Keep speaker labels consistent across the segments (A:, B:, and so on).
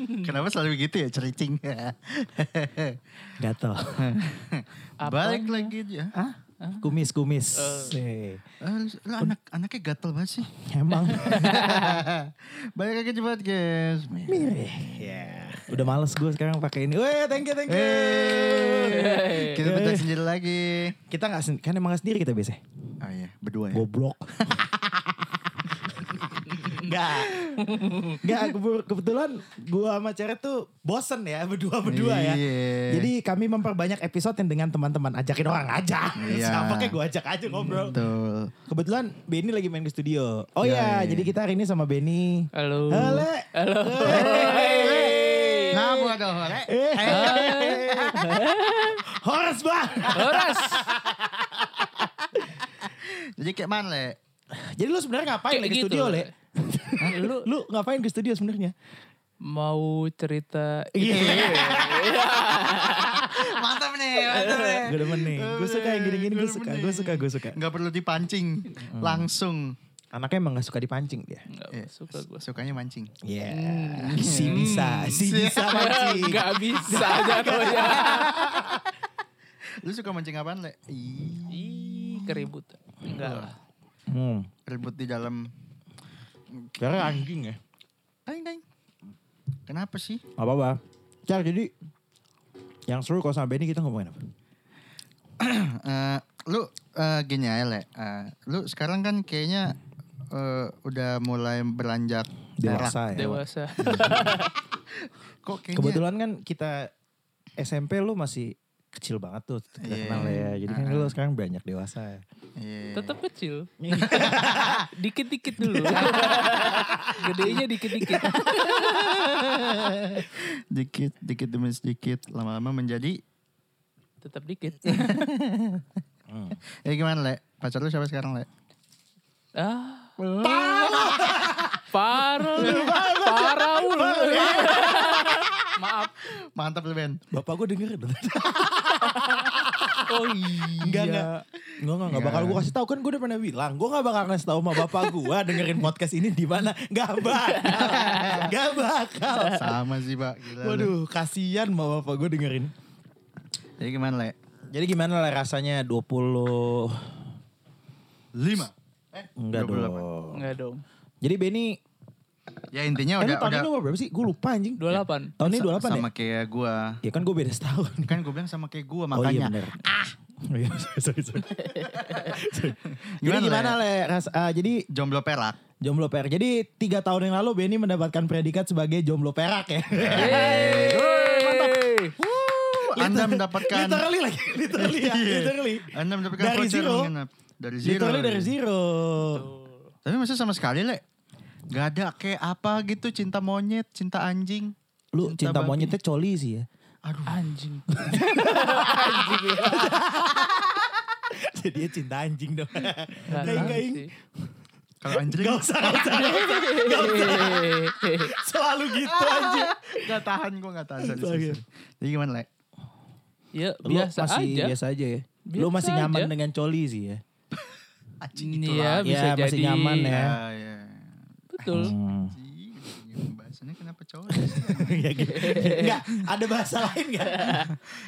A: Hmm.
B: Kenapa selalu gitu ya cericing?
A: Gatel.
B: Balik lagi dia. Hah?
A: Kumis, kumis.
B: Eh,
A: Eh,
B: lu- lu anak anaknya gatel banget sih.
A: Emang.
B: Balik lagi di podcast.
A: Mireh. Ya. Udah males gue sekarang pakai ini. Weh, thank you, thank you.
B: Hey, kita bedah sendiri lagi.
A: Kita nggak sen- kan emang nggak sendiri kita biasanya.
B: Oh iya, berdua ya.
A: Goblok. Enggak. Enggak, kebetulan gua sama Ceret tuh bosen ya berdua-berdua ya.
B: Iya.
A: Jadi kami memperbanyak episode yang dengan teman-teman ajakin orang aja.
B: Iya.
A: Siapa kayak gua ajak aja ngobrol.
B: Betul.
A: Kebetulan Benny lagi main ke studio. Oh
B: Yoi.
A: ya, jadi kita hari ini sama Benny.
C: Halo.
A: Halo.
C: Halo.
A: Hey.
B: Ngapa dong? Le?
A: Eh. Horas bang.
C: Horas.
B: Jadi kayak mana, Le?
A: Jadi lu sebenarnya ngapain
C: Kayak
A: lagi
C: gitu.
A: studio, Le?
C: Hah, Lu
A: Lu ngapain ke studio sebenarnya?
C: mau cerita
A: Iya.
B: Mantap nih, mantap nih.
A: Gue demen nih. Gue suka yang gini-gini. Gue suka, gue suka, gue suka. Hmm.
B: Gak perlu dipancing, langsung.
A: Anaknya emang gak suka dipancing dia.
C: Nggak
B: Iya.
C: suka gue.
B: Sukanya mancing.
A: Iya. Si bisa, si bisa mancing.
C: Gak bisa ya. jatuhnya.
B: Lu suka mancing apaan, Le? Ih,
C: Ih, keributan. Enggak lah.
A: Hmm.
B: Ribut di dalam.
A: Karena anjing ya.
B: Ding, ding. Kenapa sih?
A: Gak apa-apa. Car, jadi yang seru kalau sama Benny kita ngomongin apa?
B: Eh, lu eh, gini aja, Le. Eh, lu sekarang kan kayaknya eh, udah mulai beranjak merah.
A: Dewasa ya.
C: Dewasa.
B: Kok kayaknya?
A: Kebetulan kan kita SMP lu masih kecil banget tuh kita
B: Iya.
A: kenal ya. Jadi
C: Ah.
A: kan lu sekarang banyak dewasa ya.
B: Iya.
C: Tetap kecil. Dikit-dikit dulu. Gedenya dikit-dikit.
B: Dikit, dikit demi sedikit. Lama-lama menjadi...
C: Tetap dikit.
B: Eh gimana, Le? Pacar lu siapa sekarang, Le?
C: Ah. Parah. lu. Parah. lu. Maaf.
B: Mantap lu, Ben.
A: Bapak gue denger dong.
C: Oh iya.
A: Enggak, enggak. Enggak, enggak, enggak bakal gue kasih tahu kan gue udah pernah bilang. Gue enggak bakal ngasih tahu sama bapak gue dengerin podcast ini di mana. Enggak bakal. Enggak bakal.
B: Sama sih, Pak. Gila, lu.
A: Waduh, kasihan sama bapak gue dengerin.
B: Jadi Ya, gimana, Le?
A: Jadi gimana lah rasanya 20
B: Lima. Eh,
A: enggak
B: 28.
A: dong.
C: Enggak dong.
A: Jadi Benny,
B: Ya intinya
A: eh, lu
B: udah...
A: tahun
B: udah
A: ini umur berapa sih? Gue lupa anjing.
C: 28.
A: Tahun ini 28
B: sama
A: ya?
B: kayak gua.
A: Ya kan gue beda setahun.
B: Kan gue bilang sama kayak gue
A: Oh iya
B: makanya.
A: bener. Ah. iya, sorry, sorry. Sorry. jadi
B: Gimana,
A: gimana le? Ras, ah, jadi
B: Jomblo perak.
A: jomblo perak. Jadi tiga tahun yang lalu Benny mendapatkan predikat sebagai jomblo perak ya.
C: Yeay.
B: Anda mendapatkan
A: literally lagi, literally ya,
B: Iya.
A: literally.
B: Anda mendapatkan
A: dari
B: voucher
A: zero. iya.
B: menginap. dari zero.
A: Literally dari zero.
B: Tapi masa sama sekali, Le. Gak ada kayak apa gitu cinta monyet, cinta anjing.
A: Lu cinta,
B: babi.
A: monyetnya coli sih ya.
B: Aduh.
C: Anjing.
A: Jadi dia cinta anjing dong.
C: Nggak
A: Gaing,
C: tahu
A: gaing.
C: sih.
B: Kalau anjing
A: Gak usah, gak usah. Selalu gitu anjing.
B: gak tahan gue gak tahan. Sorry, sorry,
A: Astaga.
B: sorry. Jadi gimana, Le?
C: Ya
A: Lu
C: biasa
A: masih
C: aja.
A: biasa aja ya.
C: Biasa
A: lu masih nyaman
C: aja.
A: dengan coli sih ya.
B: Anjing gitu itu
C: Iya bisa
A: Ya, masih
C: jadi.
A: nyaman ya. Hmm.
B: ya.
C: Betul.
B: Anjing, Bahasannya kenapa cowok?
A: ya gitu. Enggak, ada bahasa lain enggak?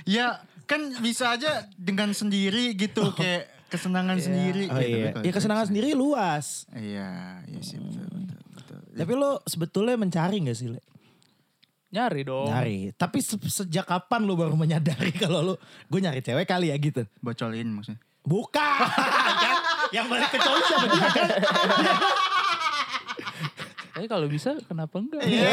B: ya kan bisa aja dengan sendiri gitu kayak kesenangan sendiri.
A: Oh
B: gitu.
A: iya.
B: Kalau
A: Ya
B: cewek
A: kesenangan sendiri luas.
B: Iya, iya sih betul betul. betul.
A: Tapi lo sebetulnya mencari gak sih, Le?
C: Nyari dong.
A: Nyari. Tapi se- sejak kapan lo baru menyadari kalau lo gue nyari cewek kali ya gitu?
B: Bocolin maksudnya.
A: Bukan. Kan? Yang balik ke cowok siapa dia? kan?
C: Tapi kalau bisa kenapa enggak?
A: Iya.
C: Iya.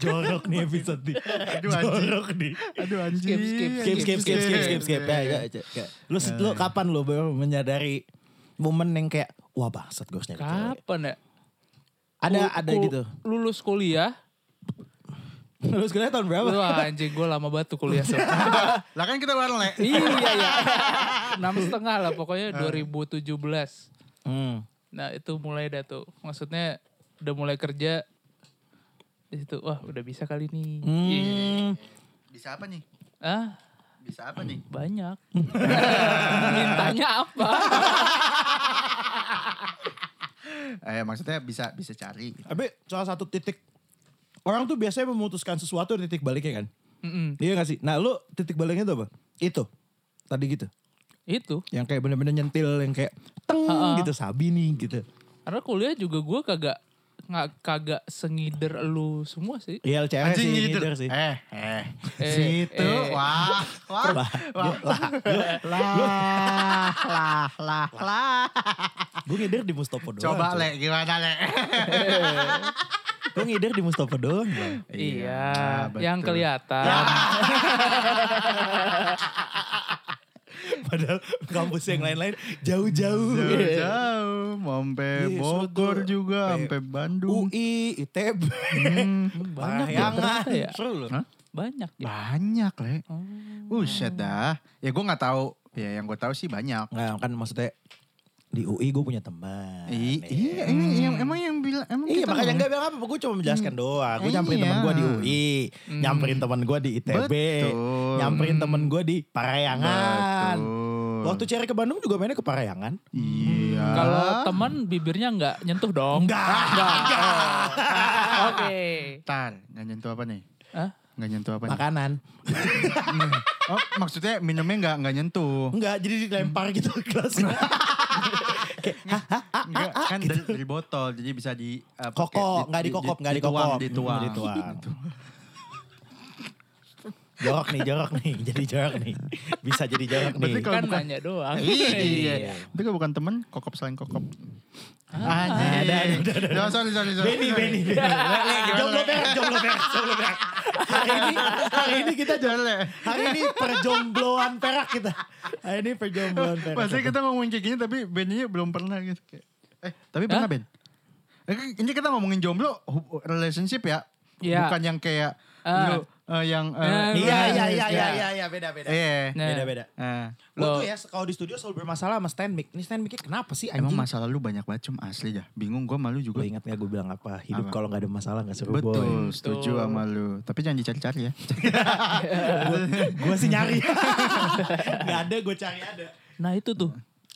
A: Jorok nih episode nih.
B: Aduh, anjing.
A: Jorok nih.
B: Aduh anjing.
C: Skip, skip,
A: Skip, skip, skip, skip, skip, skip. Ya, ya, ya, ya. Lo, se- lo kapan lo baru menyadari momen yang kayak, wah bangsat gue harus nyari cewek.
C: Kapan ya?
A: Ada,
C: Kul-
A: ada
C: kul-
A: gitu.
C: Lulus kuliah.
A: Lo sebenarnya tahun berapa?
C: Wah anjing gue lama banget tuh kuliah. Sob.
B: Lah kan kita bareng, Le.
C: iya ya. Enam setengah lah
A: Ah.
C: pokoknya 2017.
A: Hmm.
C: Nah itu mulai dah tuh. Maksudnya udah mulai kerja. Di situ wah udah bisa kali nih. Iya.
A: Hmm.
B: Bisa apa nih?
C: Ah
B: Bisa apa nih?
C: banyak. Mintanya apa?
B: eh, maksudnya bisa bisa cari gitu.
A: Tapi salah satu titik orang tuh biasanya memutuskan sesuatu di titik baliknya kan.
C: Mm-mm.
A: Iya gak sih? Nah lu titik baliknya tuh apa? Itu. Tadi gitu.
C: Itu.
A: Yang kayak bener-bener nyentil yang kayak teng
C: Ha-ha.
A: gitu sabi nih gitu.
C: Karena kuliah juga gue kagak nggak kagak sengider lu semua sih.
A: Iya LCR sih
B: gitu.
A: ngider sih.
B: Eh, eh.
C: Eh,
B: situ.
C: eh.
B: Wah, wah.
A: Lah,
B: Wah, lah, lah, lah, lah, lah.
A: Gue ngider di Mustopo doang.
B: Coba
A: cuy.
B: le, gimana le?
A: Gue ngider di Mustopo doang. Bang.
C: Iya, yang
B: betul. Ya.
C: kelihatan.
A: Padahal kampus yang lain-lain jauh-jauh.
B: Jauh-jauh, mau sampai
A: Iya,
B: Bogor
A: Solo.
B: juga, sampai Bandung.
A: UI, ITB.
C: Banyak
A: Hmm.
C: ya
A: Bayangan.
C: ternyata ya.
A: Seru loh.
C: Banyak ya.
B: Banyak le.
C: Oh.
B: Buset dah. Ya gue nggak tahu. Ya yang gue tahu sih banyak.
A: Nah, kan maksudnya di UI gue punya
C: Nah,
A: teman.
B: I- iya,
A: Iya.
B: ini yang emang yang bilang emang Kan
A: Iya
B: kita
A: makanya
B: ngomong-
A: gak bilang apa, gue cuma menjelaskan doang. Gue nyamperin
B: Iya. Hmm.
A: teman gue di UI, nyamperin teman gue di ITB,
B: Betul.
A: nyamperin teman gue di Parayangan.
B: Betul.
A: Waktu Hmm, cari ke Bandung juga mainnya ke Parayangan.
B: Iya.
C: Kalau teman bibirnya nggak nyentuh dong. Enggak. Oh. Oke.
B: Tar, nggak nyentuh apa nih?
C: Hah?
B: Nggak nyentuh apa nih?
A: Makanan.
B: Oh, maksudnya minumnya nggak nggak nyentuh.
A: Enggak, jadi dilempar
B: Hmm.
A: gitu ke gelasnya. Kayak, "Hah, hah, hah,
B: Enggak, kan dari, dari botol jadi bisa di eh, pakai-
A: ah, gitu. Kokok, nggak dikokop, nggak
B: dituang,
A: dikokop.
B: Dituang,
A: Hmm, dituang. jorok nih, jorok nih. Jadi jorok nih. Bisa jadi jorok
B: Berarti
A: nih.
B: Kalau
C: Kan
B: bukan-
C: nanya doang.
B: iya. Itu kan bukan temen, kokop selain kokop.
A: Ah, ada,
B: Anjing.
A: ada, ada.
B: Ya, sorry, sorry, sorry.
A: Benny, Benny. Benny. Jomblo berak, jomblo berak, jomblo berak. Hari ini, hari ini kita jomblo.
B: Jale.
A: Hari ini perjombloan perak kita. Hari ini perjombloan perak.
B: Pasti kita ngomongin kayak gini tapi Benny belum pernah gitu. Kayak, Eh, tapi pernah
C: Hah?
B: Ben? Eh, kan Ini kita ngomongin jomblo hub- relationship ya.
C: Iya.
B: Bukan yang kayak
C: Ah.
B: lu eh, yang eh,
A: Iya, iya, iya,
C: Eh,
B: iya.
A: iya, iya, iya, beda, beda.
B: Iya.
C: Nah.
A: Beda, beda.
B: Eh,
A: Gue
C: Lo-
A: tuh ya kalau di studio selalu bermasalah sama stand mic. Ini stand mic kenapa sih anjing?
B: Emang masalah lu banyak banget cum asli dah. Bingung gua malu
A: Gue
B: juga.
A: ingat gak gue bilang apa? Hidup
B: Apa?
A: kalau gak ada masalah gak seru boy.
B: Betul, setuju sama lu. Tapi jangan dicari-cari ya.
A: gue sih nyari. gak ada, gue cari ada.
C: Nah itu tuh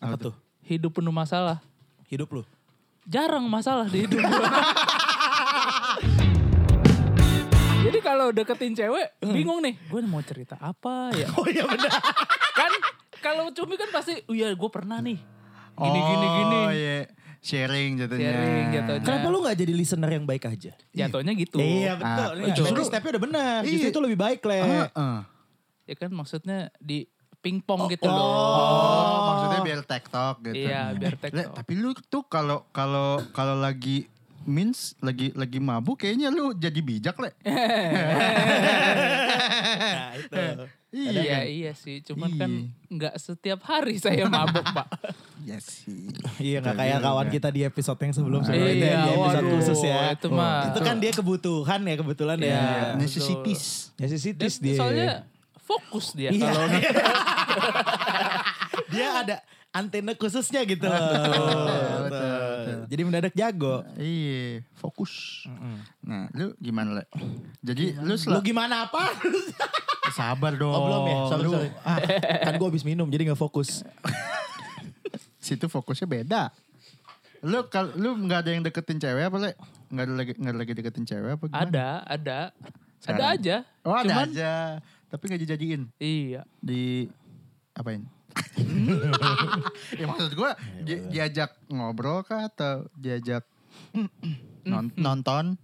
A: Apa tuh?
C: hidup penuh masalah.
A: Hidup lu.
C: Jarang masalah di hidup gua. Jadi kalau deketin cewek bingung nih, gue mau cerita apa ya?
A: Oh iya benar.
C: kan kalau cumi kan pasti, oh iya gue pernah nih. Gini gini gini.
B: Oh iya. Sharing jatuhnya.
C: Sharing jatuhnya.
A: Kenapa lu gak jadi listener yang baik aja?
C: Jatuhnya gitu.
A: Iya betul.
B: Ah,
A: Ini
B: betul.
A: Justru stepnya udah benar.
B: Iya. Ah.
A: Justru itu lebih baik le.
B: Heeh.
C: Ya kan maksudnya di pingpong gitu
A: oh.
C: loh.
B: Oh, maksudnya biar tektok gitu.
C: Iya, biar
B: Eh, Le,
C: tektok.
B: tapi lu tuh kalau kalau kalau lagi means lagi lagi mabuk kayaknya lu jadi bijak, Le.
A: Nah, itu.
C: Iya, iya sih. Cuman kan
B: Iya.
C: nggak setiap hari saya mabuk, Pak.
B: Iya sih.
A: Iya nggak kayak
B: Betul
A: kawan
B: juga.
A: kita di episode yang sebelum sebelumnya itu ya,
C: iya,
A: di episode
C: waduh.
A: khusus ya.
C: Itu mah.
A: Itu kan dia kebutuhan ya kebetulan
C: Iya.
A: ya.
B: Necessities.
A: Ya si
C: Dan
A: sitis dia.
C: soalnya fokus dia
A: Iya.
C: kalau nonton.
A: dia ada antena khususnya gitu loh.
B: betul, betul.
A: Jadi mendadak jago.
B: Iya, fokus. Nah, lu gimana, Le? Jadi
C: Iya.
B: lu
A: Lu
B: selalu
A: gimana apa?
B: sabar dong.
A: Oh, belum ya? Sorry,
B: Lu-
A: sorry. Ah, kan gue habis minum jadi gak fokus.
B: situ fokusnya beda. Lu kalau lu nggak ada yang deketin cewek apa le? Nggak ada lagi nggak ada lagi deketin cewek apa gimana?
C: ada, ada. Ada
B: Sekarang.
C: aja.
B: Oh ada
C: Cuman-
B: aja. Tapi nggak dijadiin
C: Iya.
B: di apain? ya maksud gue di- diajak ngobrol kah atau diajak non- nonton?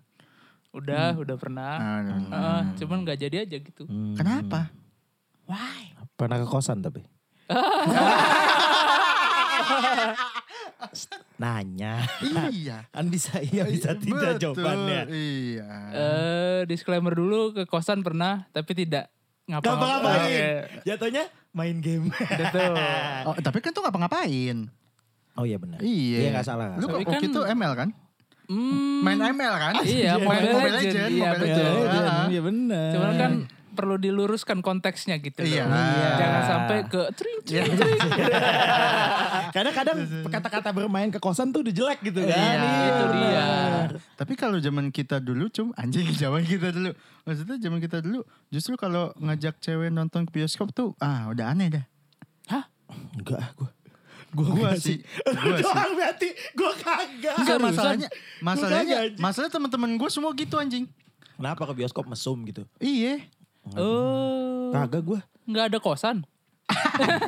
C: Udah, udah pernah.
B: Ah, udah
C: Heeh, cuman nggak jadi aja gitu.
B: Kenapa?
A: Pernah ke kosan tapi. Nanya.
B: iya.
A: Kan bisa iya bisa tidak
B: Betul,
A: jawabannya.
B: Iya.
C: Eh, disclaimer dulu ke kosan pernah, tapi tidak Iya.
A: Ngapa-ngapain.
C: ngapa-ngapain.
A: Jatuhnya main game.
C: Betul.
B: Oh, tapi kan tuh ngapa-ngapain.
A: Oh iya benar.
B: Iya.
A: Iya nggak salah. nggak
B: Lu
A: salah.
B: kok
C: Tapi kan-
B: waktu itu ML kan?
C: Hmm,
B: Main ML kan?
C: Iya, Mobile
B: Mobile
C: Legend.
B: Legend,
C: Iya,
B: Mobile
C: betul.
B: Legend.
A: Iya,
B: Ah.
A: Iya benar.
C: cuman kan perlu diluruskan konteksnya gitu loh.
B: Iya.
C: Jangan sampai ke tring tring tring.
A: Karena kadang kata-kata bermain ke kosan tuh udah jelek gitu kan.
B: Iya,
C: itu
A: benar.
C: dia.
B: Tapi kalau zaman kita dulu cum anjing zaman kita dulu. Maksudnya zaman kita dulu justru kalau ngajak cewek nonton ke bioskop tuh ah udah aneh dah.
C: Hah?
A: Enggak ah gue. Gua,
B: Gua
A: sih.
B: sih.
A: Lu
B: Gua sih.
A: doang berarti gua kagak.
B: Enggak
C: Seriusan?
B: masalahnya, masalahnya,
A: Ah, Enggak, anjing.
B: masalahnya teman-teman gue semua gitu anjing.
A: Kenapa ke bioskop mesum gitu?
B: Iya.
C: Oh.
A: Kagak gua.
C: Nggak ada kosan.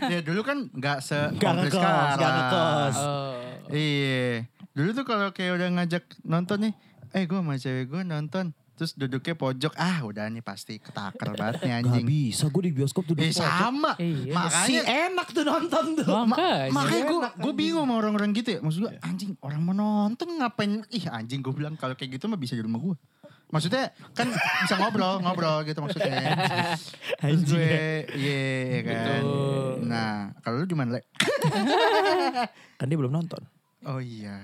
B: ya dulu kan nggak se
A: Nggak ngekos, nggak ngekos.
C: Oh.
B: Iya. Dulu tuh kalau kayak udah ngajak nonton nih, eh gue sama cewek gue nonton, terus duduknya pojok, ah udah nih pasti ketaker banget nih
A: Gak
B: anjing.
A: bisa gua di bioskop tuh.
B: Eh
A: duduk pojok.
B: sama,
C: Iya.
A: Si
B: makanya
A: enak tuh nonton tuh.
C: Wah,
B: Ma-
C: Makanya.
B: makanya gue gue bingung sama orang-orang gitu ya. Maksud
C: Iya.
B: gue anjing orang mau nonton ngapain? Ih anjing gue bilang kalau kayak gitu mah bisa di rumah gue. Maksudnya kan bisa ngobrol ngobrol gitu maksudnya. Terus
A: Anjing
B: gue
A: ya.
B: iya ya kan. Nah kalau lu gimana le?
A: Kan dia belum nonton.
B: Oh iya.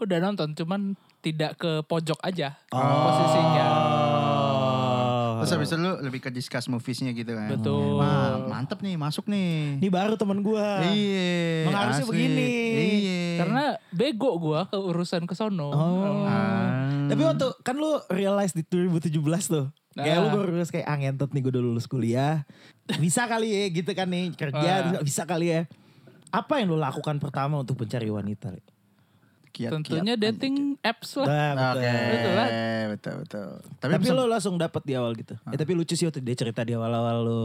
C: Udah nonton cuman tidak ke pojok aja
A: Oh.
C: posisinya.
A: Oh.
B: Terus habis itu lu lebih ke discuss moviesnya gitu kan.
C: Betul.
B: Wah mantep nih masuk nih.
A: Ini baru temen gua.
B: Iya.
A: Emang harusnya
B: asli.
A: begini.
B: Iya.
C: Karena bego gua ke urusan ke sono.
A: Oh.
B: Ah.
A: Tapi waktu kan lu realize di 2017 tuh. Kayak
C: Nah.
A: lu baru lulus kayak ah ngentot nih gue udah lulus kuliah. Bisa kali ya gitu kan nih kerja
C: Ah.
A: terus bisa kali ya. Apa yang lu lakukan pertama untuk mencari wanita? Li?
B: Kiat-kiat
C: Tentunya
B: anjing.
C: dating apps lah.
A: Nah,
B: Oke,
A: betul.
B: betul,
C: Betul kan?
B: betul, Tapi,
A: Tapi
B: bisa-
A: lu langsung dapet di awal gitu.
B: Ah.
A: Ya, tapi lucu sih waktu dia cerita di awal-awal lu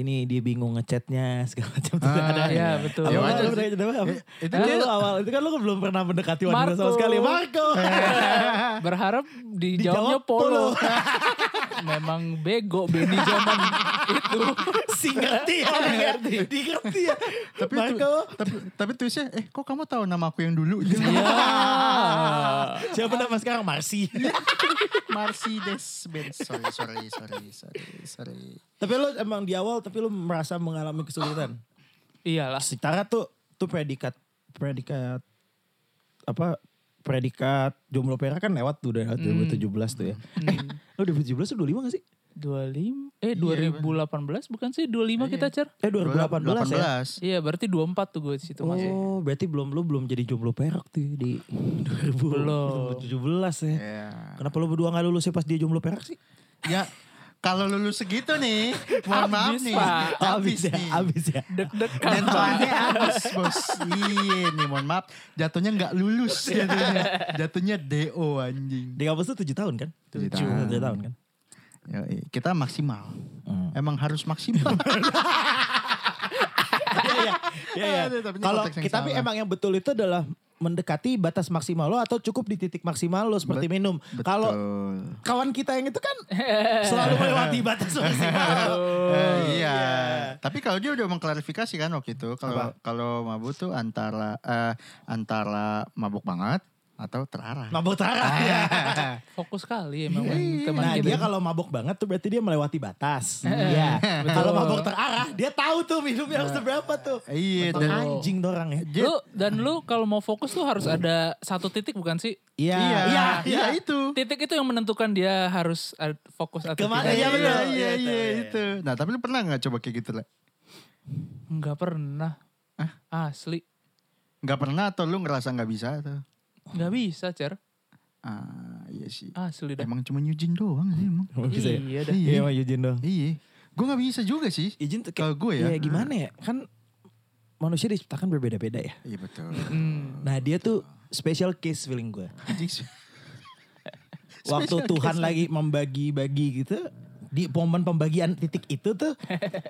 A: ini dia bingung ngechatnya segala macam tuh
B: Ah,
A: ada
C: iya, betul.
A: Apa,
B: Ya,
A: apa,
B: wajar
A: lu
B: sih.
A: bertanya apa, apa?
B: Eh, itu
A: Kan
B: dia-
A: lu awal itu kan lu belum pernah mendekati wanita sama
C: Marco.
A: sekali. Marco.
B: Iya.
C: Berharap dijawabnya
A: Dijawab polo.
C: polo. Memang bego Benny zaman itu.
A: si ngerti ya, ngerti. Dikerti ya.
B: tapi tu-
A: Marco.
B: tapi tapi tulisnya eh kok kamu tahu nama aku yang dulu
A: Iya.
B: gitu.
A: Ah. Siapa nama sekarang Marsi?
B: Mercedes Benz. Sorry, sorry, sorry, sorry, sorry.
A: tapi lu emang di awal tapi lu merasa mengalami kesulitan.
C: Iyalah.
A: Secara Ah. tuh tuh predikat predikat apa predikat jomblo perak kan lewat tuh dari 2017 tuh ya. Eh, lu 2017 tuh 25 gak sih?
C: 25 eh 2018 bukan sih 25 kita cer?
A: Eh 2018, ya.
B: 18.
C: Iya berarti 24 tuh gue di situ masih.
A: Oh, berarti belum lu belum jadi jomblo perak tuh ya di 2017 ya.
B: Iya.
A: Kenapa lu berdua gak lulus ya pas dia jomblo perak sih?
B: Ya, kalau lulus segitu nih, mohon maaf
C: Habis,
B: nih.
C: Pak.
B: Habis
A: ya,
B: nih.
A: habis ya.
C: Deg-degan Pak.
B: Dentuannya habis, Bos. Iya nih, mohon maaf. Jatuhnya nggak lulus jatuhnya. Jatuhnya DO anjing.
A: Di kampus tuh 7 tahun kan?
B: Tujuh
A: 7
B: tahun.
A: tahun kan?
B: Yoi, kita maksimal. Emang harus maksimal.
A: Iya, iya, iya.
B: Aduh, tapi ini
A: Kalau
B: konteks yang
A: kita tapi
B: salah.
A: emang yang betul itu adalah mendekati batas maksimal lo atau cukup di titik maksimal lo seperti minum. Kalau
B: Betul.
A: kawan kita yang itu kan selalu melewati batas maksimal.
B: Eh, iya. Tapi kalau dia udah mengklarifikasi kan waktu itu kalau kalau mabuk tuh antara eh, antara mabuk banget atau terarah.
A: Mabuk tarah
B: Iya.
A: ya.
C: Fokus kali emang teman
A: Nah
C: kita.
A: dia kalau mabok banget tuh berarti dia melewati batas. Iya.
C: Betul.
A: Kalau mabok terarah dia tahu tuh minumnya harus seberapa tuh.
B: Iya,
A: Emang
B: dan-
A: anjing tuh orang ya.
C: Lu dan lu kalau mau fokus tuh harus ada satu titik bukan sih?
A: Iya.
B: Iya,
A: Iya.
B: iya itu.
C: Titik itu yang menentukan dia harus ad- fokus atau
A: Kemana?
C: tidak.
B: Iya,
A: betul.
B: iya,
A: Iya,
B: iya,
A: itu,
B: iya,
A: iya.
B: itu. Nah, tapi lu pernah nggak coba kayak gitu lah?
C: Enggak pernah. Asli.
B: Nggak pernah atau lu ngerasa nggak bisa atau?
C: Enggak bisa, Cer.
B: Ah, iya sih.
C: Asli dah.
B: Emang cuma nyujin doang sih emang.
A: Emang bisa ya?
C: Iya dah.
A: Iya sama Yujin dong.
B: Iya. Gue nggak bisa juga sih.
A: Izin tuh
B: Kalau gue ya.
A: ya gimana ya? Kan manusia diciptakan berbeda-beda ya.
B: Iya betul.
C: Hmm.
A: Nah dia tuh special case feeling gue.
B: Anjing sih.
A: Waktu
B: Special
A: Tuhan lagi membagi-bagi gitu. Di momen pembagian titik itu tuh.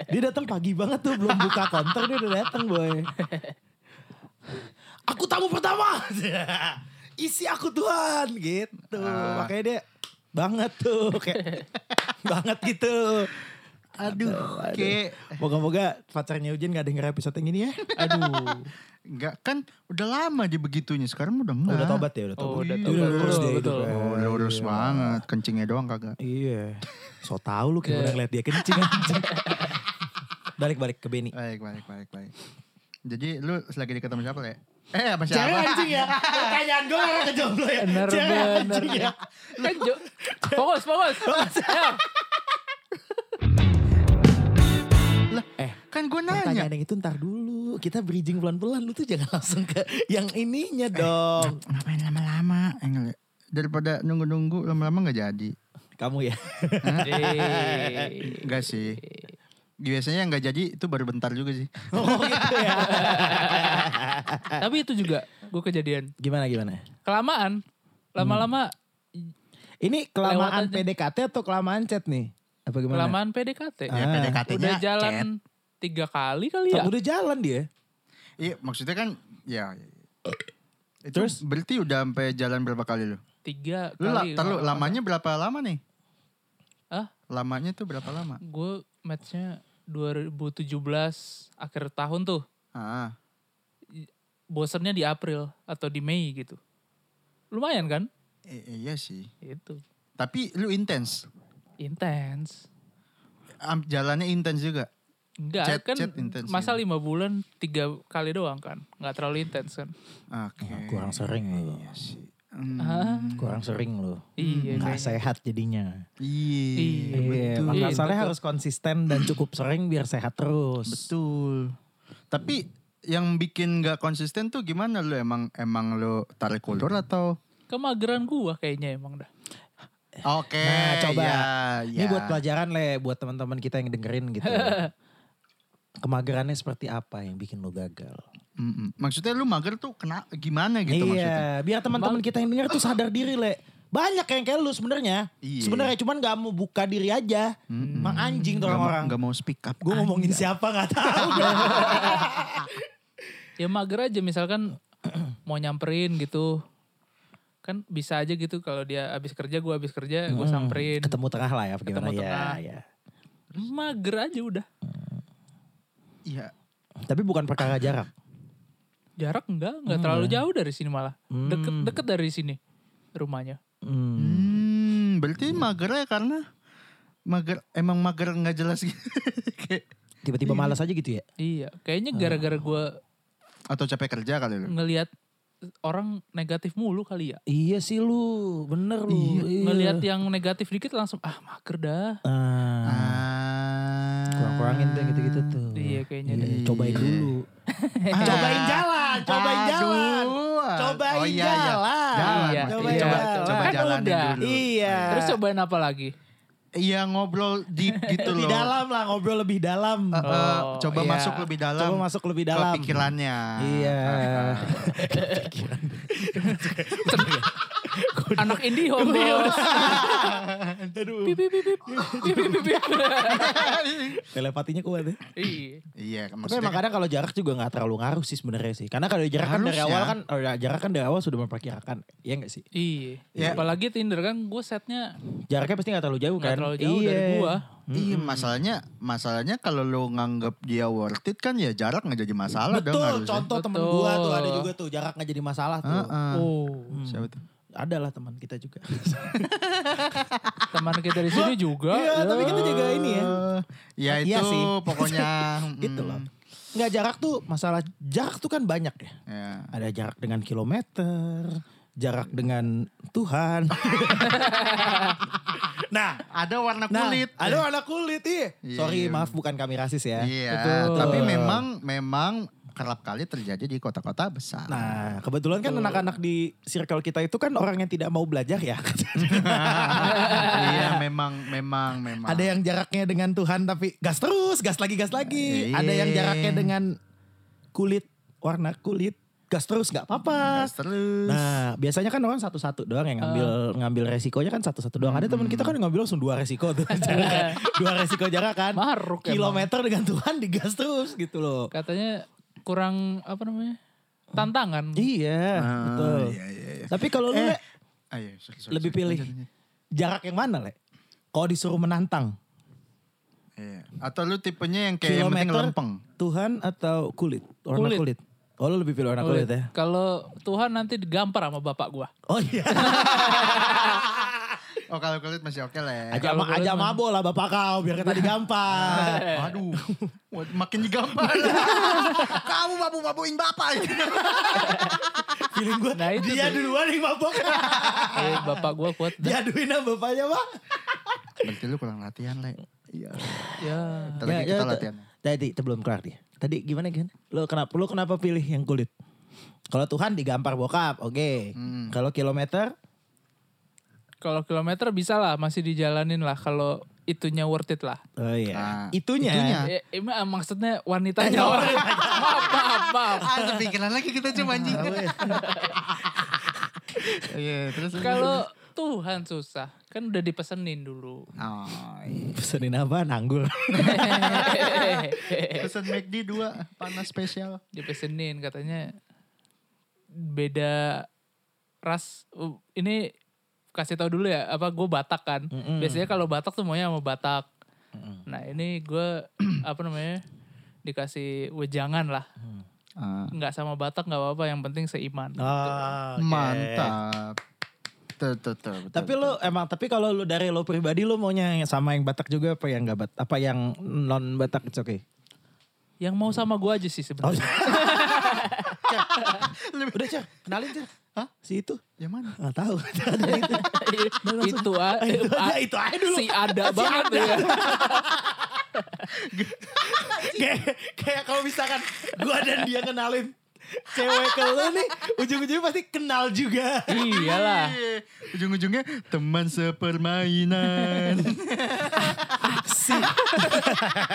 A: dia datang pagi banget tuh. Belum buka konter dia udah datang boy. Aku tamu pertama. Isi aku Tuhan gitu.
B: Ah.
A: Makanya dia banget tuh. Kayak banget gitu.
B: Aduh, kayak
A: Moga-moga pacarnya Ujin gak denger episode yang ini ya.
C: Aduh.
B: nggak kan udah lama dia begitunya sekarang udah enggak.
A: Udah tobat ya, udah tobat.
C: Oh, udah
A: Dia
C: tobat.
A: lurus
C: Betul,
A: dia
C: betul.
A: hidupnya.
B: Oh, udah lurus banget. Kencingnya doang kagak.
A: Iya. So tau lu gimana
C: Iya.
A: ngeliat dia kencing anjing. Balik-balik ke Benny.
B: Baik, baik, baik, baik. Jadi lu lagi deket sama siapa, Le? Eh, sama siapa?
A: Jangan anjing ya. Pertanyaan gue orang kejomblo ya.
C: Bener,
A: Jangan
C: bener.
A: anjing ya.
C: Kan, Jo- Fokus, fokus. Ya.
B: Lah,
A: Eh,
B: kan gue nanya.
A: Pertanyaan yang itu ntar dulu. Kita bridging pelan-pelan. Lu tuh jangan langsung ke yang ininya dong.
B: Ngapain lama-lama? Eh, nggak, Le. Daripada nunggu-nunggu lama-lama nggak jadi.
A: Kamu ya.
C: Eh.
B: Enggak sih. Biasanya yang nggak jadi itu baru bentar juga sih.
A: Oh gitu ya.
C: Tapi itu juga gue kejadian.
A: gimana gimana?
C: Kelamaan. Lama-lama
B: Hmm.
A: Ini kelamaan
C: aja.
A: PDKT atau kelamaan chat nih? Apa gimana?
C: kelamaan PDKT.
B: Ya
A: Ah.
B: PDKT-nya
C: Udah jalan
B: chat.
C: tiga kali kali
A: Tapi
C: ya.
A: Kan Udah jalan dia.
B: Iya maksudnya kan ya. Itu
A: Terus?
B: berarti udah sampai jalan berapa kali lu?
C: Tiga
B: Lu, la,
C: kali.
B: tar lu,
A: oh,
B: lamanya berapa lama nih?
C: Hah?
B: Lamanya tuh berapa lama?
C: Gue matchnya 2017 akhir tahun tuh.
B: Ah,
C: Bosernya di April atau di Mei gitu. Lumayan kan?
B: i- iya sih.
C: Itu.
B: Tapi lu intens.
C: Intens.
B: Am- Jalannya intens juga.
C: Enggak
B: Chat-
C: kan
B: chat intens
C: masa
B: gitu.
C: lima bulan tiga kali doang kan. Enggak terlalu intens kan.
B: Oke.
A: Kurang sering loh.
B: Iya sih. Hmm.
C: Ah,
A: Kurang sering loh.
C: iya.
A: Nggak
C: kayaknya.
A: sehat jadinya.
B: Iya,
C: Iya,
A: Iya,
B: betul.
A: makanya
C: Iya,
A: soalnya
C: betul.
A: harus konsisten dan cukup sering biar sehat terus.
B: Betul. Tapi yang bikin nggak konsisten tuh gimana lu emang emang lu tarik ulur atau
C: Kemageran gua kayaknya emang dah.
B: oke
A: Nah, coba.
B: ya,
A: Ini
B: ya.
A: buat pelajaran le, buat teman-teman kita yang dengerin gitu. Kemagerannya seperti apa yang bikin lo gagal?
B: Mm-mm. maksudnya lu mager tuh kena gimana gitu maksudnya
A: iya, biar teman-teman kita yang denger tuh sadar diri le. Banyak yang kayak lu sebenarnya.
B: Iya.
A: Sebenarnya cuman gak mau buka diri aja. Mang anjing tuh
B: Nggak mau-
A: orang-orang.
B: nggak mau speak up
A: Gue ngomongin siapa gak tahu.
C: Ya mager aja misalkan mau nyamperin gitu. Kan bisa aja gitu kalau dia abis kerja gua abis kerja gua
A: Hmm.
C: samperin.
A: Ketemu tengah lah ya. apa Gimana
C: Ketemu
A: ya,
C: tengah.
A: ya.
C: Mager aja udah.
B: iya
A: Tapi bukan perkara jarak.
C: Jarak enggak,
A: Hmm.
C: enggak terlalu jauh dari sini malah. Deket-deket dari sini rumahnya.
A: Hmm.
B: Hmm, berarti mager ya karena mager emang mager nggak jelas gitu Kayak-
A: Tiba-tiba malas aja gitu ya.
C: Iya, kayaknya gara-gara gua
B: atau capek kerja kali lu
C: ngelihat orang negatif mulu kali ya.
A: Iya sih lu, bener lu. Iya.
C: Ngelihat yang negatif dikit langsung ah mager dah.
A: Ah,
B: Ah.
A: kurang-kurangin deh gitu-gitu tuh.
C: Iya, kayaknya
A: Iya,
B: deh.
A: Cobain
B: Iya.
A: dulu.
B: Ah.
A: Cobain jalan, cobain
B: Aduh.
A: jalan. Cobain
B: Oh, iya, iya.
A: jalan.
B: Jalan,
C: Iya,
B: maksudnya.
A: cobain
B: coba,
A: jalan.
B: coba
C: Kan
B: jalanin
C: udah.
B: dulu.
A: Iya.
C: Terus cobain apa lagi?
B: Iya ngobrol deep gitu loh.
A: lebih dalam lah, ngobrol lebih dalam.
B: Eh, eh, coba
A: iya.
B: masuk lebih dalam.
A: Coba masuk lebih
B: ke
A: dalam.
B: pikirannya.
A: Iya.
C: Anak indie home bos.
A: Aduh.
C: Pip, pip, pip, pip. Pip, pip, pip, pip.
A: Telepatinya kuat ya.
C: Iya.
B: Iya,
A: Tapi
B: maksudnya
A: emang kadang kalau jarak juga nggak terlalu ngaruh sih sebenarnya sih. Karena kalau jarak kan dari
B: Harusnya.
A: awal kan, oh, jarak kan dari awal sudah memperkirakan. Iya nggak sih?
C: Iya.
B: Ya.
C: Apalagi Tinder kan gue setnya
A: Jaraknya pasti nggak terlalu jauh
C: nggak
A: kan?
C: terlalu jauh dari gua.
B: Iya masalahnya masalahnya kalau lo nganggap dia worth it kan ya jarak nggak jadi masalah dong
A: Betul,
B: harusnya.
A: contoh temen
C: Betul.
A: gua tuh ada juga tuh jarak nggak jadi masalah tuh.
B: Heeh.
C: Oh.
B: Siapa tuh?
A: Ada lah teman kita juga.
C: Teman kita di sini juga.
A: Iya, tapi kita juga ini ya.
B: Eh, ya itu
A: Iya sih.
B: pokoknya.
A: Gitu
B: mm,
A: loh. Nggak jarak tuh masalah jarak tuh kan banyak ya.
B: Ya.
A: Ada jarak dengan kilometer, jarak dengan Tuhan. nah,
B: Ada warna
A: nah,
B: kulit.
A: Ada warna kulit iya.
B: Iya,
A: Sorry,
B: iya.
A: maaf bukan kami rasis ya.
B: Iya.
C: Betul.
B: Tapi memang memang kerap kali terjadi di kota-kota besar.
A: Nah, kebetulan kan anak-anak di circle kita itu kan orang yang tidak mau belajar ya.
B: iya memang memang memang.
A: Ada yang jaraknya dengan Tuhan tapi gas terus, gas lagi, gas lagi.
B: Iya.
A: Ada yang jaraknya dengan kulit, warna kulit, gas terus nggak apa-apa.
B: Gas terus.
A: Nah, biasanya kan orang satu-satu doang yang ngambil ngambil resikonya kan satu-satu doang. Ada teman kita kan ngambil langsung dua resiko tuh. jarak. dua resiko jarak kan.
C: Maruk emang.
A: Kilometer dengan Tuhan digas terus gitu loh.
C: Katanya kurang apa namanya? Tantangan.
A: Iya, Eh,
B: Ah,
A: betul.
B: Iya iya iya.
A: Tapi kalau lu Le,
B: Ah, iya, sorry, sorry,
A: lebih
B: sorry.
A: pilih jarak yang mana, Le? Kalau disuruh menantang,
B: Iya. Atau lu tipenya yang kayak Eh, yang penting
A: Kilometer.
B: lempeng.
A: Tuhan atau kulit? Warna
C: Kulit.
A: kulit. Oh, lu lebih pilih warna
C: Kulit.
A: kulit ya?
C: Kalau Tuhan nanti digampar sama bapak gua.
A: Oh iya.
B: Oh kalau kulit masih oke lah. ya.
A: Ajak
C: Kalau
A: ma-
C: kulit
A: ajak
C: mah-
A: mabok lah bapak kau biar kita digampar.
B: Waduh, Waduh, makin digampar. Kamu mabu-mabuin bapak.
A: Feeling gue
C: Nah, itu
A: dia duluan yang mabok.
C: Eh, bapak gua kuat. dah.
A: Diaduin sama bapaknya, Pak.
B: Berarti lu kurang latihan, Le. Iya.
C: Ya.
B: Ntar lagi kita latihan. ya?
A: Tadi itu belum kelar dia. Tadi gimana gimana? Lo kenapa lo kenapa pilih yang kulit? Kalau Tuhan digampar bokap, oke.
B: Hmm.
A: Kalau kilometer
C: Kalau kilometer bisa lah masih dijalanin lah kalau itunya worth it lah.
A: Oh
B: Ah,
A: iya. Eh, Itunya.
B: itunya.
C: Ya, em- eh, maksudnya wanitanya. maaf, maaf, maaf.
B: Ah, kepikiran lagi kita cuma anjing. Iya, terus
C: Kalau Tuhan susah, kan udah dipesenin dulu.
B: Oh, iya.
A: Pesenin apa? Nanggul.
B: pesan McD dua panas spesial.
C: dipesenin katanya beda ras Uh, ini kasih tahu dulu ya apa gue Batak kan
A: Mm-mm.
C: biasanya kalau Batak tuh maunya sama Batak nah ini gue apa namanya dikasih wejangan lah
B: Ah,
C: nggak sama Batak nggak apa-apa yang penting seiman
A: Mm. Ah, oke.
B: gitu. Mantap. Tuh, tuh, tuh, betul,
A: Tapi
B: betul.
A: lo emang tapi kalau lo dari lo pribadi lo maunya yang sama yang Batak juga apa yang enggak Batak? Apa yang non Batak it's okay.
C: yang mau sama gue aja sih sebenarnya
A: Udah, Cer. Kenalin, Cer.
B: Hah?
A: Si itu.
B: yang Ya mana?
A: Enggak tahu. Ada itu.
C: itu a-
A: Oh, iya. Itu aja, itu
C: a-
A: aja dulu.
C: si ada banget ya
A: kayak kayak kalau misalkan gua dan dia kenalin cewek ke lo nih, ujung-ujungnya pasti kenal juga.
C: iyalah
B: Eh, Ujung-ujungnya teman sepermainan.
A: Si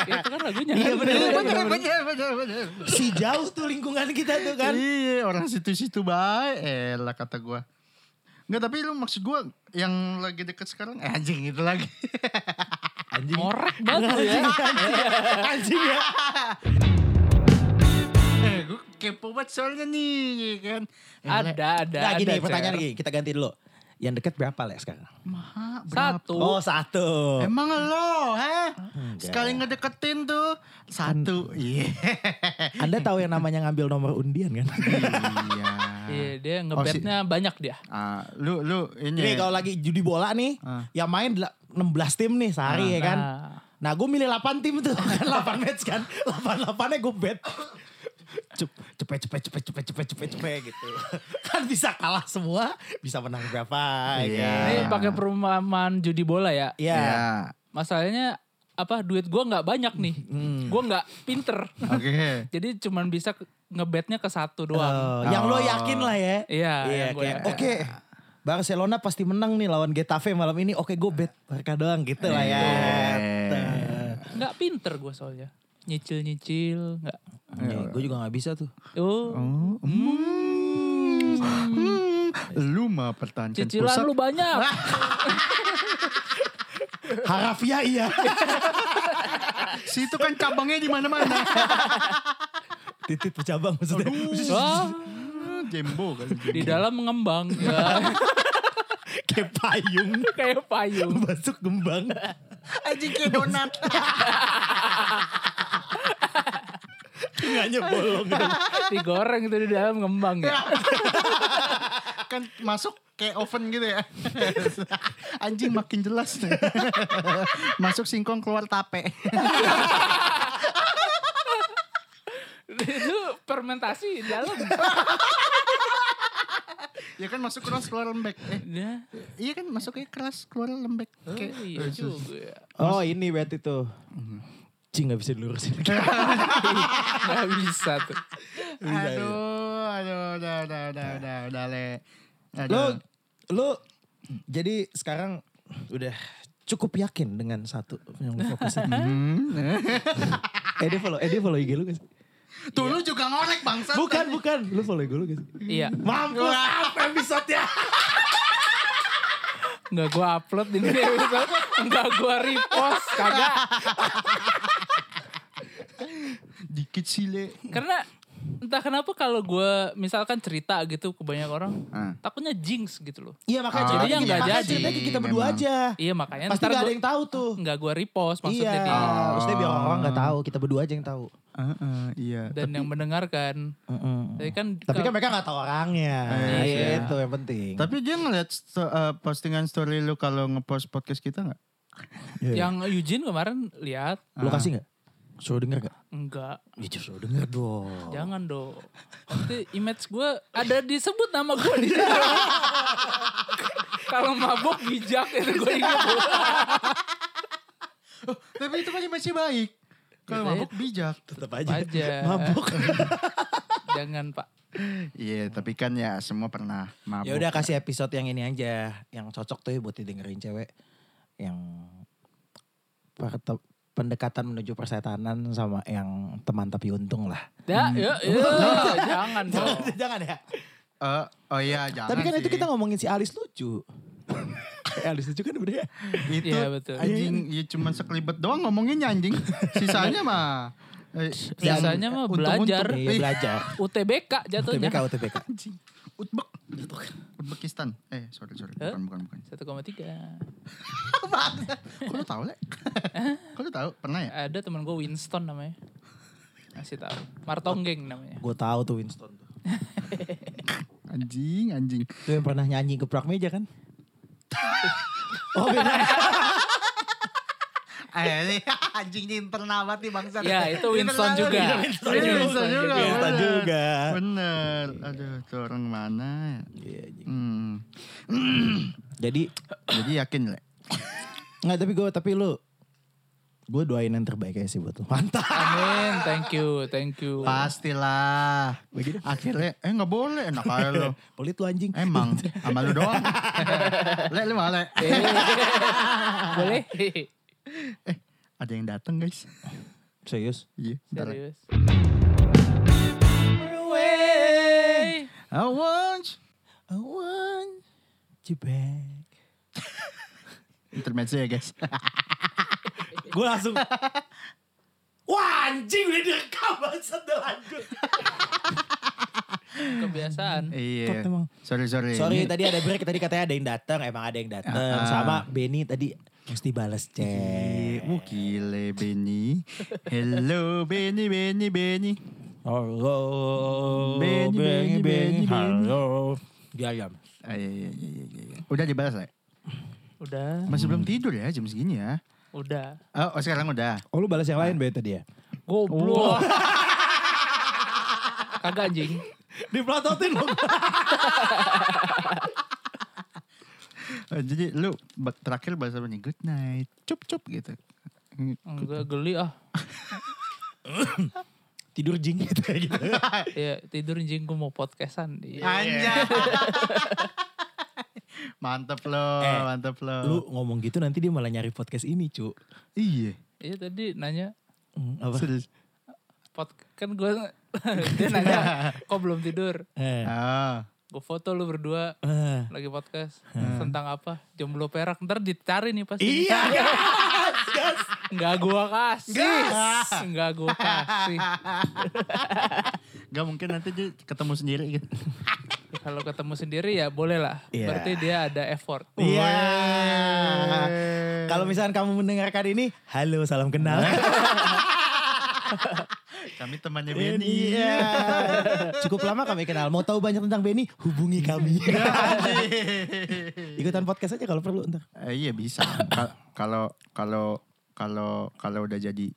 C: itu kan lagunya
A: Iya,
C: kan?
A: bener,
B: Iya,
A: bener,
B: bener, bener, bener, bener.
A: si jauh tuh lingkungan kita tuh kan.
B: Iya, orang situ-situ baik. Elah kata gua. Enggak, tapi lu maksud gua yang lagi deket sekarang eh, anjing itu lagi.
A: Anjing.
C: Ngorek banget lu ya
A: Anjing ya.
B: eh, gua kepo banget soalnya nih, ya kan. Eh, Le,
C: ada ada
A: Nah, gini
C: ada,
A: pertanyaan
C: Cer.
A: lagi, kita ganti dulu. Yang deket berapa lah sekarang?
B: Maha, berapa?
C: Satu.
A: Oh, satu.
B: Emang lo, heh? Sekali ngedeketin tuh satu. Iya.
A: Anda tahu yang namanya ngambil nomor undian kan?
B: Iya.
A: Nah.
C: Iya, dia
B: Oh,
C: ngebetnya banyak dia.
B: Ah, lu lu ini.
A: Nih kalau lagi judi bola nih,
B: Ah.
A: yang main del- 16 tim nih sehari ya kan.
C: Nah.
A: Nah gue milih 8 tim tuh, kan 8 match kan. 8-8-nya gue bet. Cep, cepet, cepet, cepet, cepet, cepet, cepet, cepet gitu. Kan bisa kalah semua, bisa menang berapa
B: Iya.
A: ya.
C: Ini pakai perumpamaan judi bola ya.
A: Iya.
B: Ya.
C: Masalahnya apa duit gua nggak banyak nih.
A: Hmm.
C: Gua nggak pinter.
B: Oke.
C: Jadi cuman bisa ke- ngebetnya ke satu doang.
A: Oh, yang lo yakin lah ya.
C: Iya, yang gue
A: kayak,
C: yakin.
A: Oke. Barcelona pasti menang nih lawan Getafe malam ini. Oke, gue bet mereka doang gitu lah ya.
C: Iya. Nggak pinter gua soalnya. Nyicil-nyicil nggak.
A: gue juga gak bisa tuh.
C: Oh,
B: Oh, hmm. Hmm. Lu mah pertahankan
C: cicilan
B: pusat.
C: lu banyak.
A: Harafiah iya.
B: Situ kan cabangnya di mana-mana. Kan
A: Titit bercabang maksudnya.
C: Wah,
B: Jembo kali.
C: Oh, di dalam mengembang ya.
A: Kayak payung.
C: kayak payung.
A: Masuk gembang.
B: Anjing kayak donat.
A: Tengahnya bolong.
C: Digoreng itu di dalam ngembang ya.
B: Iya. kan masuk kayak oven gitu ya. Anjing makin jelas nih. masuk singkong keluar tape.
C: itu fermentasi di dalam.
B: ya kan masuk keras keluar lembek. Eh,
C: Nah,
B: iya kan masuknya keras keluar lembek.
C: oh,
B: Kayak-
C: iya juga ya.
A: Oh ini berarti tuh. Cing gak bisa dilurusin.
C: Gak bisa tuh.
B: Iya, Aduh, aduh, udah, udah, udah, udah, udah, le.
A: Lo, lo jadi sekarang udah cukup yakin dengan satu yang lo fokusin. eh dia follow, eh dia follow IG lu gak sih?
B: Tuh lu juga ngorek bangsa.
A: Bukan, bukan. Lu follow IG lu gak sih?
C: Iya.
A: Mampus apa
B: ya?
A: episode-nya?
C: Nggak gue upload di media sosial. Nggak gue repost. Kagak.
B: Dikit sih, le.
C: Karena entah kenapa kalau gue misalkan cerita gitu ke banyak orang.
B: Ah.
C: Takutnya jinx gitu loh.
A: Iya makanya
B: Ah,
A: ceritanya
C: iya,
A: makanya
C: jadi.
A: ceritanya kayak kita berdua
B: Memang.
A: aja.
C: Iya makanya
A: Pasti
C: ntar
A: gak ada
C: gua-
A: yang tahu tuh.
C: nggak gue repost maksudnya.
A: iya.
C: di-
A: Maksudnya biar orang nggak tahu, kita berdua aja yang tahu.
B: Ah, ah, iya.
C: Dan yang mendengarkan. Tapi kan.
A: Tapi kan mereka nggak tahu orangnya.
C: Iya.
A: Itu yang penting.
B: Tapi dia ngeliat sto- eh, postingan story lu kalau ngepost podcast kita nggak?
A: kan iya.
C: yang Eugene kemarin lihat.
A: Lu kasih
C: Ah.
A: nggak? Suruh denger nggak?
C: Enggak.
A: Ya suruh denger dong.
C: Jangan dong. Nanti image gue ada disebut nama gue di situ. Kalau mabok bijak itu gue ingat.
B: Tapi itu kan masih baik. Kalau
C: Gitu ya.
B: mabuk bijak.
A: Tetap
C: Aja.
A: Mabuk.
C: Jangan pak.
B: Iya, tapi kan ya semua pernah mabuk.
A: ya udah kasih ya episode yang ini aja, yang cocok tuh buat didengerin cewek. Yang perte- pendekatan menuju persetanan sama yang teman tapi untung lah.
C: Ya, ya, ya, jangan dong.
A: Jangan ya.
B: Eh, oh iya jangan
A: tapi kan itu
B: sih.
A: kita ngomongin si Alis lucu. Eh, Alis lucu kan udah ya.
B: itu
C: Iya, betul.
B: anjing ya cuman sekelibet doang ngomonginnya anjing sisanya mah eh,
C: Sisanya
B: yang
C: mah
B: untung-untung.
C: belajar.
A: Iya
B: Iya.
A: belajar.
C: UTBK jatuhnya.
A: UTBK, UTBK.
B: Anjing. Uzbek. Uzbekistan. Eh, sorry, sorry.
C: Eh?
B: Bukan, bukan, bukan.
C: 1,3.
B: Kok lu tahu, Le? Kok lu tahu? Pernah ya?
C: Ada teman gue Winston namanya. Masih tahu. Martonggeng namanya.
A: Gue tahu tuh Winston tuh.
B: Anjing, anjing.
A: Itu yang pernah nyanyi geprak meja kan? oh beda.
B: Eh, anjing ini internal banget nih bangsa.
C: Ya, itu Winston juga.
B: Winston
C: Itu
B: juga.
C: Winston juga.
A: Winston
B: bener.
A: juga.
B: Bener. Aduh, itu orang mana ya?
A: Ah. Iya, anjing.
B: Hmm.
A: Jadi
B: Jadi yakin, Le?
A: nggak tapi gue tapi lu gue doain yang terbaik aja sih buat lu. Mantap.
C: Amin, thank you, thank you.
B: Pastilah. Akhirnya, eh nggak boleh. Enak aja lu.
A: Pelit lu anjing.
B: Emang, sama lu doang. Le, lu malah, Le.
A: Iya.
C: Eh, Boleh?
B: Eh, ada yang datang guys.
A: Serius.
B: Iya, bentar lagi.
C: Serius.
B: I want
A: I want you back.
B: intermezzo ya guys.
A: Gue langsung. Wah anjing udah direkam bangsat udah lanjut.
C: Kebiasaan.
B: iya.
A: Emang.
B: Sorry sorry.
A: Sorry
B: Ini-
A: tadi ada break tadi katanya ada yang datang emang ada yang datang
B: Ah.
A: sama Benny tadi mesti balas
B: Eh,
A: chat.
B: uh, gile Benny. Hello Benny Benny Benny.
A: Halo.
B: Benny, Benny, Benny.
A: Halo. Dia ayam.
B: Ah, iya, iya, iya, iya, iya, iya. Udah dibalas lah.
C: Udah,
B: Masih belum tidur ya jam segini ya.
C: udah.
B: Oh, oh, sekarang udah.
A: Oh lu balas yang lain Ben tadi ya?
C: Goblok. Kagak anjing.
A: Dipelototin lu.
B: Eh, jadi lu ba- terakhir balas apa nih? Good night. Cup cup gitu.
C: Enggak geli ah.
A: Tidur jing gitu kayak gitu.
C: Ya, tidur anjing gue mau podcastan.
B: Ah.
C: Iya.
B: Anjay. mantep lo,
A: Eh,
B: mantep lo.
A: lu ngomong gitu nanti dia malah nyari podcast ini cu.
B: iya.
C: Iya tadi nanya
A: Hmm, Apa?
B: Serius.
C: pod kan gue dia nanya kok belum tidur.
A: Eh.
B: Ah.
C: Gue foto lu berdua
A: eh.
C: lagi podcast tentang apa? Jomblo perak ntar dicari nih pasti.
A: Iya.
C: Enggak gua kasih. Enggak gua kasih.
B: Gak mungkin nanti dia ketemu sendiri gitu.
C: Kalau ketemu sendiri ya boleh lah.
A: Iya.
C: Berarti dia ada effort.
A: Iya. Kalau misalkan kamu mendengarkan ini, halo salam kenal.
B: Kami temannya Benny.
A: Iya. Cukup lama kami kenal. Mau tahu banyak tentang Benny? Hubungi kami. Ikutan podcast aja kalau perlu ntar.
B: Eh, iya bisa. Ka- Kalau kalau kalau kalau udah jadi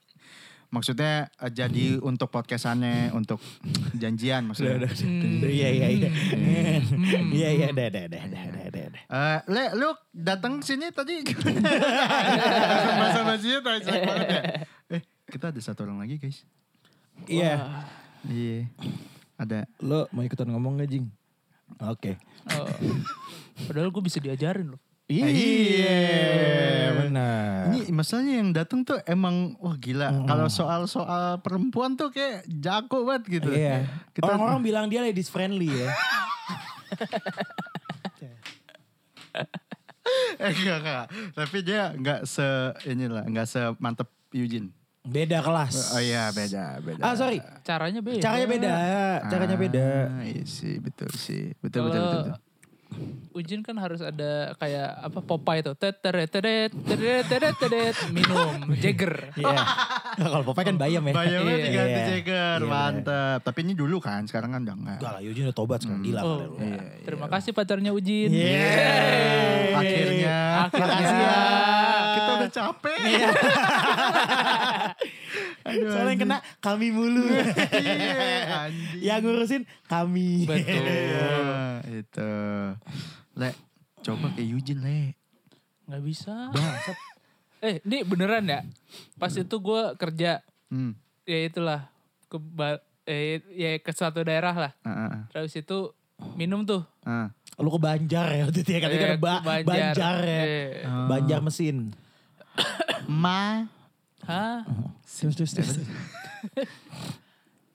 B: maksudnya eh, jadi
A: Hmm.
B: untuk podcastannya untuk janjian maksudnya.
A: Iya iya iya. Iya iya udah udah udah udah udah udah, udah.
B: Eh, le, lu datang sini tadi bahasa bahasanya tadi banget ya. Eh, kita ada satu orang lagi guys.
A: Iya.
B: Iya. Ada.
A: Lo mau ikutan ngomong gak Jing? Oke.
C: Oh. Padahal gue bisa diajarin loh.
B: Iya.
A: Eh, benar.
B: Eh, Ini masalahnya yang datang tuh emang wah gila. Kalau soal-soal perempuan tuh kayak jago banget gitu.
A: Iya.
B: Kita
A: Orang-orang bilang dia ladies friendly ya.
B: eh, enggak, enggak. Tapi dia enggak se inilah, enggak semantep Eugene.
A: Beda kelas.
B: Oh iya, beda, beda.
A: Ah sorry.
C: Caranya beda.
A: Caranya beda. Caranya beda.
B: Ah, iya sih, betul sih. Betul, betul, betul.
C: Kalau
B: betul.
C: Ujin kan harus ada kayak apa Popeye tuh. Teteret, teteret, teteret, teteret, teteret. Minum, Jagger.
A: Iya. Kalau Popeye kan bayam ya.
B: Bayangnya
C: Iya,
B: diganti
A: iya.
B: Jagger,
A: Iya,
B: mantap. Tapi ini dulu kan, sekarang kan udah enggak.
A: Enggak lah, Eugene udah tobat sekarang gila
C: Oh,
A: kali lu.
C: terima kasih pacarnya Ujin.
A: Yeay. ya.
B: Akhirnya,
C: Ah, Akhirnya.
B: Kita udah capek. Aduh,
A: Soalnya yang kena kami mulu.
B: Iya, anjing.
A: yang ngurusin kami.
C: Betul.
B: Iya, itu. Le, coba ke Eugene, Le.
C: Nggak bisa. eh, ini beneran ya? Pas itu gue kerja,
B: Hmm.
C: ya itulah. Ke, Ba- eh, ya ke suatu daerah lah.
B: Ah, ah,
C: Terus itu minum tuh.
B: ah.
A: Lu ke
B: Iya,
A: Banjar ya waktu itu ya. Katanya
C: Eh,
A: kan ba-
C: ke
A: Banjar. ya.
C: Eh,
A: Banjar mesin.
B: Ma
C: Hah?
A: Terus terus terus.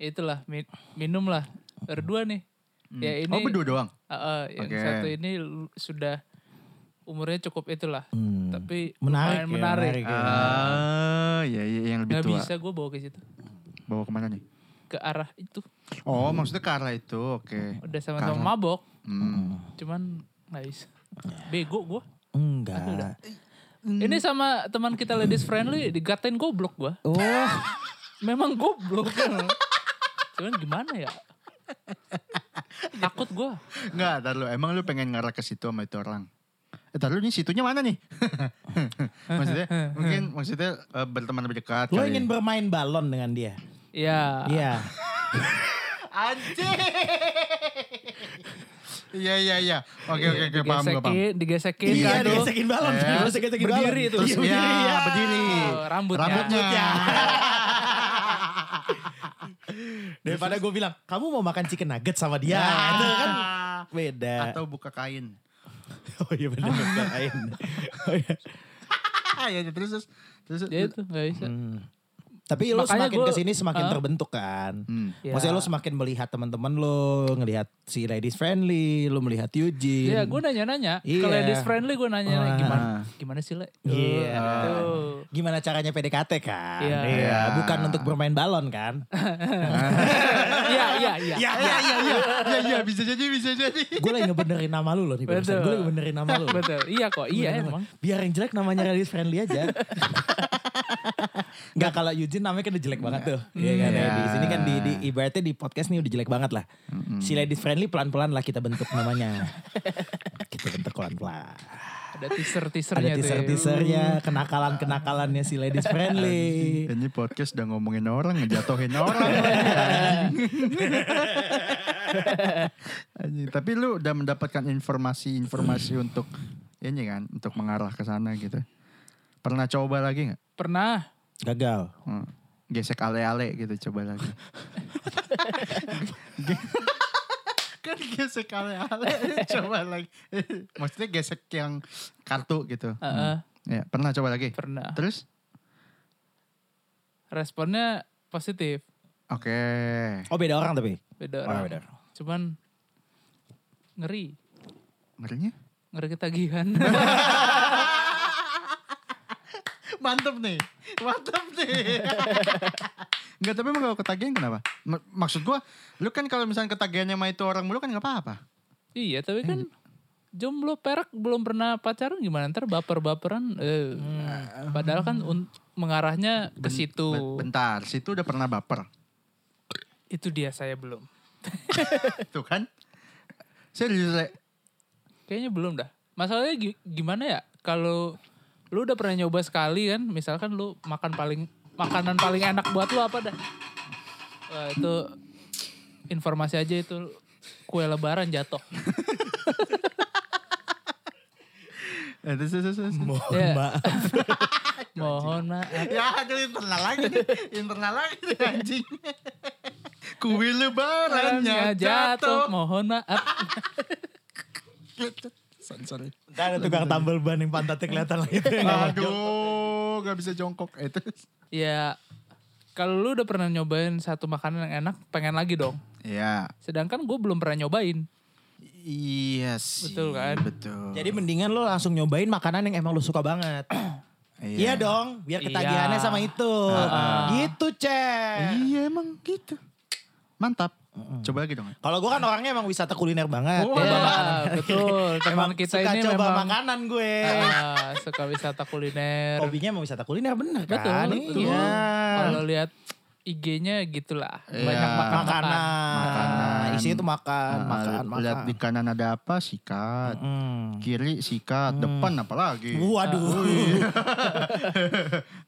C: Itulah mi- minum lah berdua nih.
A: Hmm.
C: Ya ini.
B: Oh berdua doang.
C: Ah, ah, yang
B: Oke.
C: satu ini lu- sudah umurnya cukup itulah.
A: Hmm.
C: Tapi
A: Menarik, ya,
C: lumayan menarik.
A: menarik.
B: Ah, iya iya yang lebih
C: Nggak
B: tua.
C: bisa gue bawa ke situ.
B: Bawa kemana nih?
C: Ke arah itu.
B: Oh, maksudnya ke arah itu. Oke.
C: Udah sama-sama
B: Karena-
C: mabok.
B: Hmm.
C: Cuman nggak bisa. Bego gue.
A: Enggak.
C: Ini sama teman kita ladies friendly dikatain goblok gue.
A: Oh,
C: Memang goblok. emang. Cuman gimana ya? Takut gue.
B: Enggak, ntar lu. Emang lu pengen ngarah ke situ sama itu orang? Eh, Ntar lu nih situnya mana nih? maksudnya mungkin maksudnya eh, berteman lebih dekat. kali.
A: lo
B: Ah.
A: ingin bermain balon dengan dia?
C: Ya.
A: Iya.
B: Anjing. Iya iya iya. Oke oke oke paham gue paham.
C: Digesekin, digesekin
A: Iya,
C: kan tuh.
A: digesekin balon.
B: Iya.
A: Digesekin balon.
C: Berdiri itu.
B: Terus
A: Iya,
B: ya,
A: iya.
B: berdiri.
C: Oh, rambutnya.
B: Rambutnya.
A: Daripada gue bilang, kamu mau makan chicken nugget sama dia. Itu kan beda.
B: Iya. Atau buka kain.
A: Oh iya benar bukan kain. Oh, iya.
B: ya terus terus terus.
C: Ya itu nggak bisa.
A: Hmm. Tapi lo
C: Makanya
A: semakin
C: gua-
A: kesini semakin
C: Hah?
A: terbentuk kan.
B: Hmm.
C: Ya.
A: Maksudnya lo semakin melihat teman-teman lo, ngelihat si ladies friendly, lo melihat Eugene.
C: Iya, gue nanya-nanya.
A: Iya.
C: Kalau ladies friendly gue nanya
A: Ah.
C: gimana gimana sih, Le?
A: Iya.
C: Tuh.
A: Gimana caranya PDKT kan?
C: Iya.
B: Iya.
A: Bukan untuk bermain balon kan?
C: Iya, iya, iya.
A: Iya,
B: Ya ya ya ya ya bisa jadi bisa jadi.
A: gue lagi ngebenerin nama lu loh nih. Gue
C: Betul.
A: lagi ngebenerin nama lu.
C: Betul. Iya kok, iya emang.
A: Biar yang jelek namanya ladies friendly aja. Enggak kalau Eugene namanya kan udah jelek banget tuh. Iya kan
C: Mm,
A: ya. Di sini kan di, di ibaratnya di podcast nih udah jelek banget lah. Si ladies friendly pelan-pelan lah kita bentuk namanya. kita bentuk pelan-pelan.
C: Ada teaser-teasernya
A: Ada
C: tuh. ya.
A: teaser-teasernya, kenakalan-kenakalannya si ladies friendly.
B: Ini podcast udah ngomongin orang, ngejatuhin orang. Anjing, Tapi lu udah mendapatkan informasi-informasi untuk ini kan, untuk mengarah ke sana gitu. Pernah coba lagi nggak?
C: Pernah.
A: Gagal.
B: Hmm. Gesek ale-ale gitu coba lagi. Ge- kan gesek ale-ale coba lagi. Maksudnya gesek yang kartu gitu.
A: Hmm.
C: Heeh,
B: Ya, pernah coba lagi.
C: pernah.
B: Terus?
C: Responnya positif.
B: Oke.
A: Oh beda orang tapi.
C: Beda
A: Oh,
C: orang.
A: beda.
C: Cuman ngeri.
B: Ngerinya?
C: Ngeri ketagihan.
B: Mantep nih, mantep nih. Enggak, tapi emang kalau ketagihan kenapa? M- maksud gua, lu kan kalau misalnya ketagihannya sama itu orang mulu kan gak apa-apa.
C: iya, tapi kan jomblo perak belum pernah pacaran gimana ntar baper-baperan eh,
A: Hmm.
C: padahal kan un- mengarahnya ke situ
B: Be- Bentar, situ udah pernah baper.
C: itu dia saya belum
B: Tuh kan? Serius, Le.
C: Kayaknya belum dah. Masalahnya gi- gimana ya? Kalau lu udah pernah nyoba sekali kan, misalkan lu makan paling makanan paling enak buat lu apa dah? Wah, itu informasi aja itu kue lebaran jatuh.
B: Eh, terus, terus, terus.
A: Mohon
C: Iya.
A: maaf.
C: Mohon maaf.
B: Ya, aduh internal lagi nih. Internal lagi nih, anjing. Kuil lebarannya jatuh.
C: Mohon maaf.
B: Sorry.
A: Ntar ada tukang tambal ban yang pantatnya kelihatan lah gitu.
C: Oh,
B: Aduh, gak bisa jongkok. Eh, terus.
C: Ya kalau lu udah pernah nyobain satu makanan yang enak, pengen lagi dong.
B: Ya,
C: Sedangkan gue belum pernah nyobain.
B: iya sih.
C: Betul kan?
B: Betul.
A: Jadi mendingan lo langsung nyobain makanan yang emang lo suka banget. Iya dong, biar ketagihannya
C: Iya.
A: sama itu. Gitu, Cek.
B: Iya emang gitu. Mantap. Coba lagi dong.
A: Kalau gue kan orangnya emang wisata kuliner banget.
B: Oh,
A: Emang-
C: Ya, betul. Teman
A: emang
C: kita
A: suka
C: ini
A: coba
C: memang
A: makanan gue.
C: Ah, suka wisata kuliner.
A: Hobinya emang wisata kuliner bener
C: Betul.
A: kan?
C: betul.
A: Iya.
C: Kalau lihat IG-nya gitulah.
B: Iya.
C: Banyak makan Nah, makanan.
A: Makanan.
B: Makanan.
A: Isinya tuh makan,
B: Ah,
A: makan, makan.
B: Lihat di kanan ada apa sikat.
A: Hmm.
B: Kiri sikat, depan apa lagi?
A: Waduh.
C: Iya.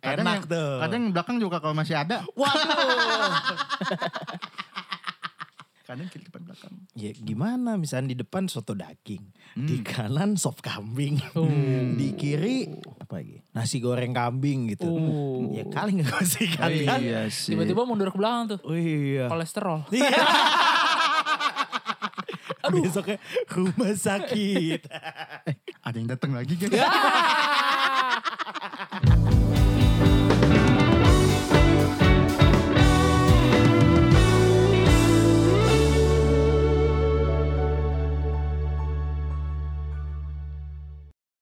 B: Kadang
A: Uh, Enak
B: yang-
A: tuh.
B: Kadang yang belakang juga kalau masih ada.
A: Waduh.
B: Kadang kiri depan belakang.
A: Ya gimana misalnya di depan soto daging, di kanan sop kambing,
C: Hmm.
A: di kiri apa lagi? Nasi goreng kambing gitu.
C: Oh.
A: Ya kali nggak sih kalian.
B: Iya sih.
C: Tiba-tiba mundur ke belakang tuh.
A: Oh iya.
C: Kolesterol.
A: Besoknya rumah sakit.
B: ada yang datang lagi gitu.